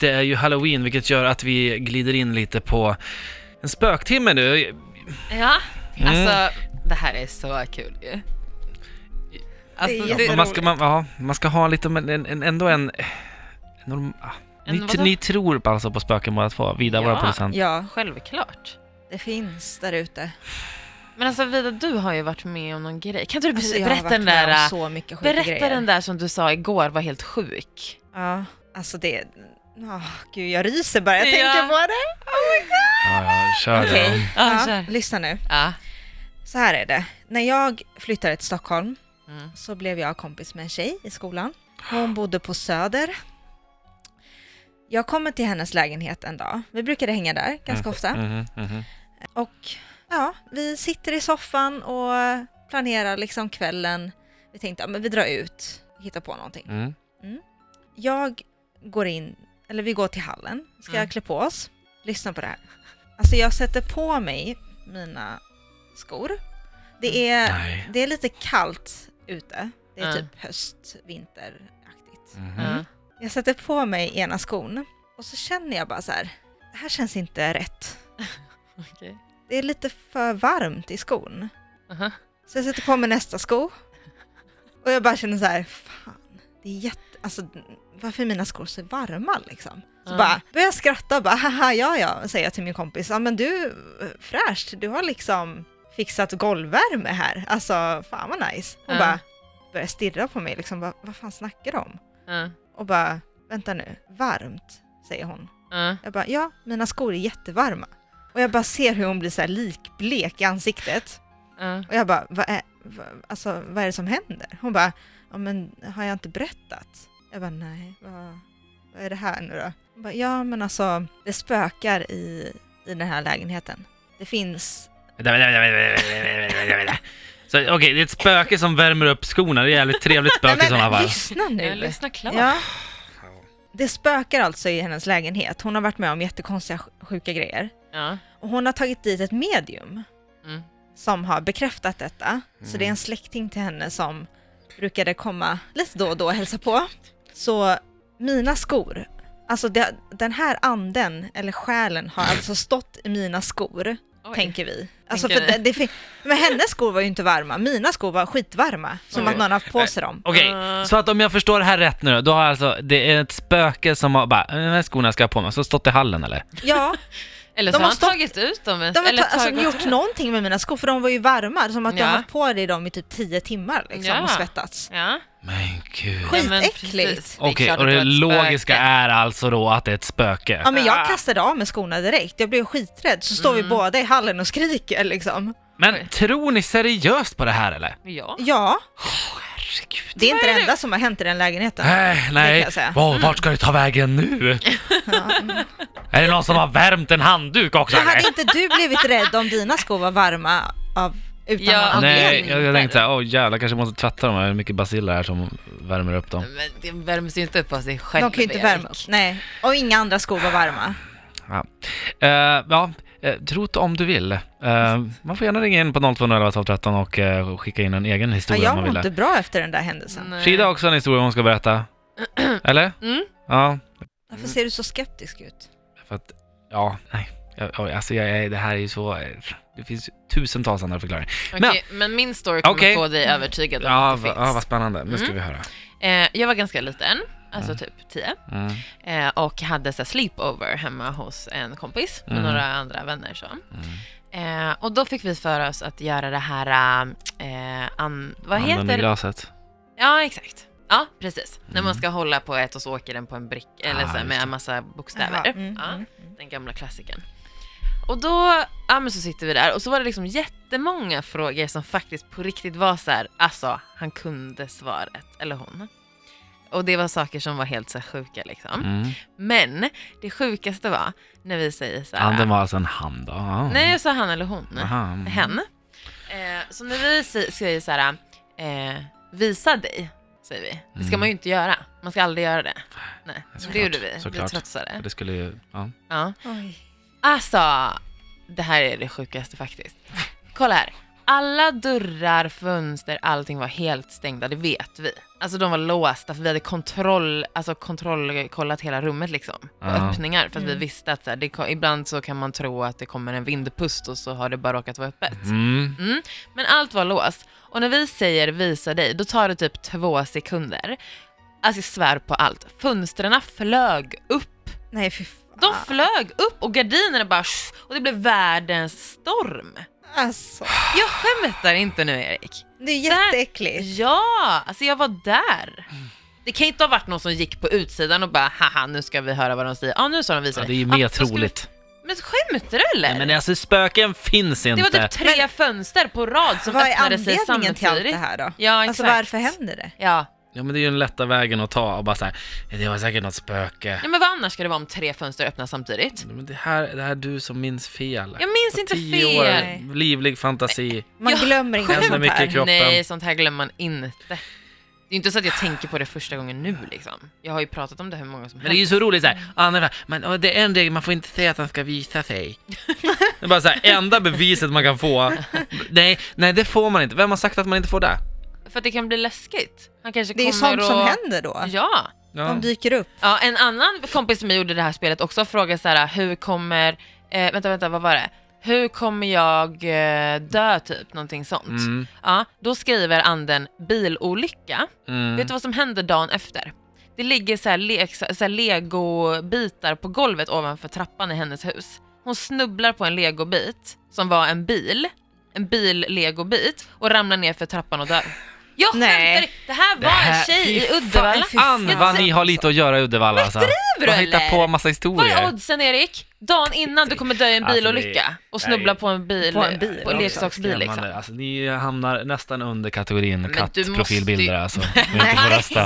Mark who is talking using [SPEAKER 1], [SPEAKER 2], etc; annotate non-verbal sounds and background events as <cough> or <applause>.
[SPEAKER 1] Det är ju halloween, vilket gör att vi glider in lite på en spöktimme nu.
[SPEAKER 2] Ja,
[SPEAKER 1] Mm.
[SPEAKER 2] alltså det här är så kul ju. Alltså,
[SPEAKER 3] jätte-
[SPEAKER 2] det,
[SPEAKER 1] Man ska, man, ja, man ska ha lite, men en, en, ändå en... Norm, ah.
[SPEAKER 2] En
[SPEAKER 1] ni,
[SPEAKER 2] vadå?
[SPEAKER 1] ni tror alltså på spöken båda två, Vida,
[SPEAKER 2] Ja.
[SPEAKER 1] vår producent.
[SPEAKER 3] Ja,
[SPEAKER 2] självklart.
[SPEAKER 3] det finns där ute.
[SPEAKER 2] Men alltså Vida, du har ju varit med om någon grej. Kan inte du
[SPEAKER 3] Alltså,
[SPEAKER 2] be-
[SPEAKER 3] jag har
[SPEAKER 2] berätta
[SPEAKER 3] varit
[SPEAKER 2] den
[SPEAKER 3] med om
[SPEAKER 2] där, äh,
[SPEAKER 3] så mycket sjuka
[SPEAKER 2] berätta
[SPEAKER 3] grejer.
[SPEAKER 2] den där som du sa igår var helt sjuk?
[SPEAKER 3] Ja, alltså det... Oh, gud, jag ryser bara jag
[SPEAKER 2] Ja.
[SPEAKER 3] tänker på det. Oh my god.
[SPEAKER 1] Ja, ja, kör då.
[SPEAKER 3] Okej.
[SPEAKER 2] Ja,
[SPEAKER 3] Ja,
[SPEAKER 2] kör.
[SPEAKER 3] lyssna nu.
[SPEAKER 2] Ja.
[SPEAKER 3] Så här är det. När jag flyttade till Stockholm
[SPEAKER 2] Mm.
[SPEAKER 3] så blev jag kompis med en tjej i skolan. Hon bodde på Söder. Jag kommer till hennes lägenhet en dag. Vi brukade hänga där
[SPEAKER 2] Mm.
[SPEAKER 3] ganska ofta.
[SPEAKER 1] Mhm, mhm.
[SPEAKER 3] Och ja, vi sitter i soffan och planerar liksom kvällen. Vi tänkte att men vi drar ut, hittar på någonting.
[SPEAKER 1] Mm.
[SPEAKER 3] Jag går in, eller vi går till hallen, ska
[SPEAKER 2] Mm.
[SPEAKER 3] jag klä på oss. Lyssna på det här. Alltså jag sätter på mig mina skor. Det är,
[SPEAKER 1] Nej.
[SPEAKER 3] det är lite kallt ute. Det är
[SPEAKER 2] Mm.
[SPEAKER 3] typ höst, vinteraktigt.
[SPEAKER 1] Mhm.
[SPEAKER 2] Ja.
[SPEAKER 3] Jag sätter på mig ena skon och så känner jag bara så här, det här känns inte rätt.
[SPEAKER 2] Okej.
[SPEAKER 3] Det är lite för varmt i skon.
[SPEAKER 2] Aha.
[SPEAKER 3] Så jag sätter på mig nästa sko. Och jag bara känner så här, fan, det är jätte... Alltså, varför är mina skor så varma liksom? Så
[SPEAKER 2] Ja.
[SPEAKER 3] bara börjar jag skratta och bara, haha, ja ja, säger jag till min kompis. Ja men du, eh, fräscht, du har liksom fixat golvvärme här. Alltså, fan vad nice. Och
[SPEAKER 2] Ja.
[SPEAKER 3] bara börjar stirra på mig liksom, bara, vad fan snackar du om?
[SPEAKER 2] Ja.
[SPEAKER 3] Och bara, vänta nu, varmt, säger hon.
[SPEAKER 2] Ja.
[SPEAKER 3] Jag bara, ja, mina skor är jättevarma. Och jag bara ser hur hon blir så här likblek i ansiktet.
[SPEAKER 2] Ja.
[SPEAKER 3] Och jag bara, vad är, vad, alltså, vad är det som händer? Hon bara, ja men har jag inte berättat? Jag bara, nej, vad, vad är det här nu då? Hon bara, ja men alltså, det spökar i, i den här lägenheten. Det finns,
[SPEAKER 1] Vänta, vänta, vänta, vänta, vänta, vänta, vänta, vänta. Så, Okej, det är ett spöke som värmer upp skorna. Det är ett jävligt trevligt spöke i sådana
[SPEAKER 3] men
[SPEAKER 1] fall.
[SPEAKER 3] lyssna
[SPEAKER 2] Jag
[SPEAKER 3] nu!
[SPEAKER 2] lyssnar klart.
[SPEAKER 3] Ja. Det spökar alltså i hennes lägenhet. Hon har varit med om jättekonstiga sj- sjuka grejer.
[SPEAKER 2] Ja.
[SPEAKER 3] Och hon har tagit dit ett medium
[SPEAKER 2] Mm.
[SPEAKER 3] som har bekräftat detta. Så det är en släkting till henne som brukade komma lite då och då och hälsa på. Så mina skor, alltså det, den här anden eller själen har alltså stått i mina skor,
[SPEAKER 2] Oj.
[SPEAKER 3] tänker vi. Alltså
[SPEAKER 2] Tänker
[SPEAKER 3] för
[SPEAKER 2] ni?
[SPEAKER 3] det, det, fin- men hennes skor var ju inte varma, mina skor var skitvarma, som
[SPEAKER 2] Oj.
[SPEAKER 3] att någon har haft på sig dem.
[SPEAKER 1] Okej,
[SPEAKER 2] Ah.
[SPEAKER 1] så att om jag förstår det här rätt nu då, då har alltså, det är ett spöke som har bara, de här skorna ska jag ha på mig, så stått i hallen eller?
[SPEAKER 3] Ja,
[SPEAKER 2] Eller
[SPEAKER 3] De
[SPEAKER 2] så
[SPEAKER 3] har
[SPEAKER 2] har han
[SPEAKER 3] stått-
[SPEAKER 2] tagit ut dem.
[SPEAKER 3] de har
[SPEAKER 2] eller
[SPEAKER 3] ta, alltså,
[SPEAKER 2] tagit-
[SPEAKER 3] gjort någonting med mina skor för de var ju varma, som att jag
[SPEAKER 2] Ja.
[SPEAKER 3] har haft på dig dem i typ tio timmar liksom,
[SPEAKER 2] Ja.
[SPEAKER 3] och svettats.
[SPEAKER 2] Ja.
[SPEAKER 1] Men gud.
[SPEAKER 2] Ja, men
[SPEAKER 3] Skitäckligt.
[SPEAKER 2] precis. Det är
[SPEAKER 1] Okej,
[SPEAKER 2] klart
[SPEAKER 1] och
[SPEAKER 2] att
[SPEAKER 1] det
[SPEAKER 2] var ett
[SPEAKER 1] logiska
[SPEAKER 2] spöke.
[SPEAKER 1] är alltså då att det är ett spöke?
[SPEAKER 3] Ja men jag
[SPEAKER 2] Ah.
[SPEAKER 3] kastade av mig skorna direkt, jag blev skiträdd. Så står
[SPEAKER 2] Mm.
[SPEAKER 3] vi båda i hallen och skriker liksom.
[SPEAKER 1] Men tror ni seriöst på det här eller?
[SPEAKER 2] Ja.
[SPEAKER 3] Ja,
[SPEAKER 1] Herregud.
[SPEAKER 3] det är inte det enda som har hänt i den lägenheten.
[SPEAKER 1] Nej,
[SPEAKER 3] kan
[SPEAKER 1] nej.
[SPEAKER 3] jag säga.
[SPEAKER 1] Åh, vart ska det ta vägen nu?
[SPEAKER 3] <laughs> Ja. mm.
[SPEAKER 1] Är det någon som har värmt en handduk också?
[SPEAKER 3] Så
[SPEAKER 1] eller?
[SPEAKER 3] hade inte du blivit rädd om dina skor var varma av, utan
[SPEAKER 2] Ja,
[SPEAKER 3] någon
[SPEAKER 1] Nej,
[SPEAKER 3] anledning?
[SPEAKER 1] jag, jag tänkte såhär, åh jävlar, kanske måste tvätta dem här, det är mycket baciller här som värmer upp dem.
[SPEAKER 2] Men det värms ju inte upp av sig själv.
[SPEAKER 3] De kan ju inte värma upp. Nej, och inga andra skor var varma.
[SPEAKER 1] Ja, Eh, ja uh, tro det om du vill. Eh, man får gärna ringa in på 0211 12 13 och eh, skicka in en egen
[SPEAKER 3] Ja,
[SPEAKER 1] historia
[SPEAKER 3] jag
[SPEAKER 1] om man
[SPEAKER 3] mår
[SPEAKER 1] vill.
[SPEAKER 3] inte bra efter den där händelsen.
[SPEAKER 2] Nej.
[SPEAKER 1] Frida har också en historia hon ska berätta.
[SPEAKER 2] <clears throat>
[SPEAKER 1] Eller?
[SPEAKER 2] Eh. Mm.
[SPEAKER 1] Ja,
[SPEAKER 3] Varför ser du så skeptisk ut?
[SPEAKER 1] för att, ja, nej. Jag, jag- alltså jag, är- det här är ju så, eh, det finns tusentals andra förklaringar.
[SPEAKER 2] Okej, men, min story kommer
[SPEAKER 1] Okej.
[SPEAKER 2] få dig övertygad om
[SPEAKER 1] Ja,
[SPEAKER 2] att det
[SPEAKER 1] va,
[SPEAKER 2] finns.
[SPEAKER 1] ja vad spännande. Nu ska
[SPEAKER 2] Mm.
[SPEAKER 1] vi höra.
[SPEAKER 2] Eh, jag var ganska liten, alltså typ 10,
[SPEAKER 1] Mm.
[SPEAKER 2] eh, och hade så här sleepover hemma hos en kompis med
[SPEAKER 1] Mm.
[SPEAKER 2] några andra vänner. Så. Eh, och då fick vi för oss att göra det här, eh, an, vad
[SPEAKER 1] Handen i
[SPEAKER 2] heter det?
[SPEAKER 1] glaset.
[SPEAKER 2] Ja, exakt. Ja, precis. När
[SPEAKER 1] Mm.
[SPEAKER 2] man ska hålla på ett och så åker den på en brick eller
[SPEAKER 1] Ah,
[SPEAKER 2] så här,
[SPEAKER 1] just
[SPEAKER 2] med en massa bokstäver.
[SPEAKER 3] Jaha, mm,
[SPEAKER 2] Ja.
[SPEAKER 3] mm.
[SPEAKER 2] Den gamla klassiken. Och då, ja men så sitter vi där och så var det liksom jättemånga frågor som faktiskt på riktigt var så här, alltså han kunde svaret, eller hon. Och det var saker som var helt så här sjuka liksom.
[SPEAKER 1] Mm.
[SPEAKER 2] Men det sjukaste var när vi säger så här.
[SPEAKER 1] Handen var alltså en hand då? Ja.
[SPEAKER 2] Nej jag sa han eller hon.
[SPEAKER 1] Aha. Mm.
[SPEAKER 2] Hen. Eh, så när vi sä- säger så här, eh, visa dig, säger vi. Det ska
[SPEAKER 1] Mm.
[SPEAKER 2] man ju inte göra. Man ska aldrig göra det. Nej,
[SPEAKER 1] Såklart,
[SPEAKER 2] det gjorde vi.
[SPEAKER 1] såklart.
[SPEAKER 2] Vi trotsade.
[SPEAKER 1] Det skulle ju, ja.
[SPEAKER 2] Ja.
[SPEAKER 3] Oj.
[SPEAKER 2] Alltså, det här är det sjukaste faktiskt. Kolla här. alla dörrar, fönster, allting var helt stängda, det vet vi. Alltså de var låsta för vi hade kontroll, alltså kontrollkollat hela rummet liksom. Och
[SPEAKER 1] Ja.
[SPEAKER 2] öppningar för att
[SPEAKER 3] Mm.
[SPEAKER 2] vi visste att så här, det, ko- ibland så kan man tro att det kommer en vindpust och så har det bara råkat vara öppet.
[SPEAKER 1] Mm.
[SPEAKER 2] Mm. Men allt var låst. Och när vi säger visa dig, då tar det typ två sekunder. Alltså jag svär på allt. Fönstren flög upp.
[SPEAKER 3] Nej fy fan.
[SPEAKER 2] De flög upp och gardinerna bara... sh- Och det blev världens storm.
[SPEAKER 3] Alltså,
[SPEAKER 2] Jag skämtar inte nu Erik.
[SPEAKER 3] det är
[SPEAKER 2] här-
[SPEAKER 3] jätteäckligt.
[SPEAKER 2] Ja, alltså jag var där. Det kan inte ha varit någon som gick på utsidan och bara haha nu ska vi höra vad de säger. Ja ah, nu sa de visa
[SPEAKER 1] Ja,
[SPEAKER 2] dig.
[SPEAKER 1] det är ju mer
[SPEAKER 2] Ah, vad ska
[SPEAKER 1] troligt.
[SPEAKER 2] Vi... Men skämtar du eller?
[SPEAKER 1] Nej, men alltså spöken finns
[SPEAKER 2] det
[SPEAKER 1] inte.
[SPEAKER 2] var typ tre fönster på rad som
[SPEAKER 3] Vad är
[SPEAKER 2] öppnade sig
[SPEAKER 3] anledningen
[SPEAKER 2] samtidigt.
[SPEAKER 3] till allt det här då?
[SPEAKER 2] Ja exakt.
[SPEAKER 3] Alltså varför händer det?
[SPEAKER 2] Ja.
[SPEAKER 1] Ja men det är ju den lätta vägen att ta och bara såhär, det var säkert något spöke.
[SPEAKER 2] ja men vad annars ska det vara om tre fönster öppnas samtidigt?
[SPEAKER 1] Men det här, det här är du som minns fel.
[SPEAKER 2] Jag minns
[SPEAKER 1] Mm. På
[SPEAKER 2] inte
[SPEAKER 1] tio
[SPEAKER 2] fel.
[SPEAKER 1] År, livlig fantasi.
[SPEAKER 3] Man
[SPEAKER 2] Ja,
[SPEAKER 3] glömmer inte
[SPEAKER 1] händer
[SPEAKER 3] sånt
[SPEAKER 1] mycket i
[SPEAKER 3] här.
[SPEAKER 1] kroppen.
[SPEAKER 2] Nej sånt här glömmer man inte. Det är inte så att jag tänker på det första gången nu liksom. Jag har ju pratat om det hur många som
[SPEAKER 1] Men det är
[SPEAKER 2] helst.
[SPEAKER 1] ju så roligt såhär, andra men åh, det är en regel, man får inte säga att han ska visa sig. Det är bara såhär, enda beviset man kan få. Nej, nej det får man inte. Vem har sagt att man inte får det?
[SPEAKER 2] För att det kan bli läskigt. Han kanske
[SPEAKER 3] Det är ju
[SPEAKER 2] kommer
[SPEAKER 3] sånt
[SPEAKER 2] och...
[SPEAKER 3] som händer då.
[SPEAKER 2] Ja.
[SPEAKER 1] Ja.
[SPEAKER 3] De dyker upp.
[SPEAKER 2] ja, en annan kompis som gjorde det här spelet också frågade så här, hur kommer, eh, vänta vänta vad var det? Hur kommer jag eh, dö typ, någonting sånt.
[SPEAKER 1] Mm,
[SPEAKER 2] Ja, då skriver anden bilolycka.
[SPEAKER 1] mm.
[SPEAKER 2] Vet du vad som händer dagen efter? Det ligger så här, leksa- så här legobitar på golvet ovanför trappan i hennes hus. Hon snubblar på en legobit som var en bil, en bil-legobit och ramlar ner för trappan och dör. Jag
[SPEAKER 3] Nej.
[SPEAKER 2] skämtar! Det här var
[SPEAKER 1] Det här-
[SPEAKER 2] en tjej
[SPEAKER 1] fy
[SPEAKER 2] i
[SPEAKER 1] fan,
[SPEAKER 2] Uddevalla.
[SPEAKER 3] fy
[SPEAKER 1] Fan
[SPEAKER 3] Jag
[SPEAKER 1] vad
[SPEAKER 3] tror-
[SPEAKER 1] ni har lite att göra i Uddevalla alltså.
[SPEAKER 2] du,
[SPEAKER 1] Vad hittar
[SPEAKER 2] eller?
[SPEAKER 1] på en massa
[SPEAKER 2] Vad är
[SPEAKER 1] historier.
[SPEAKER 2] oddsen Erik? Dagen innan du kommer dö i en
[SPEAKER 1] Alltså, det-
[SPEAKER 2] bilolycka och snubbla på en bil,
[SPEAKER 3] På en bil
[SPEAKER 2] på en
[SPEAKER 3] också.
[SPEAKER 2] leksaksbil liksom.
[SPEAKER 1] Alltså, ni hamnar nästan under kategorin
[SPEAKER 2] Men du måste ju- <laughs>
[SPEAKER 1] kattprofilbilder alltså. Ni har inte får
[SPEAKER 3] Nej.
[SPEAKER 1] rösta.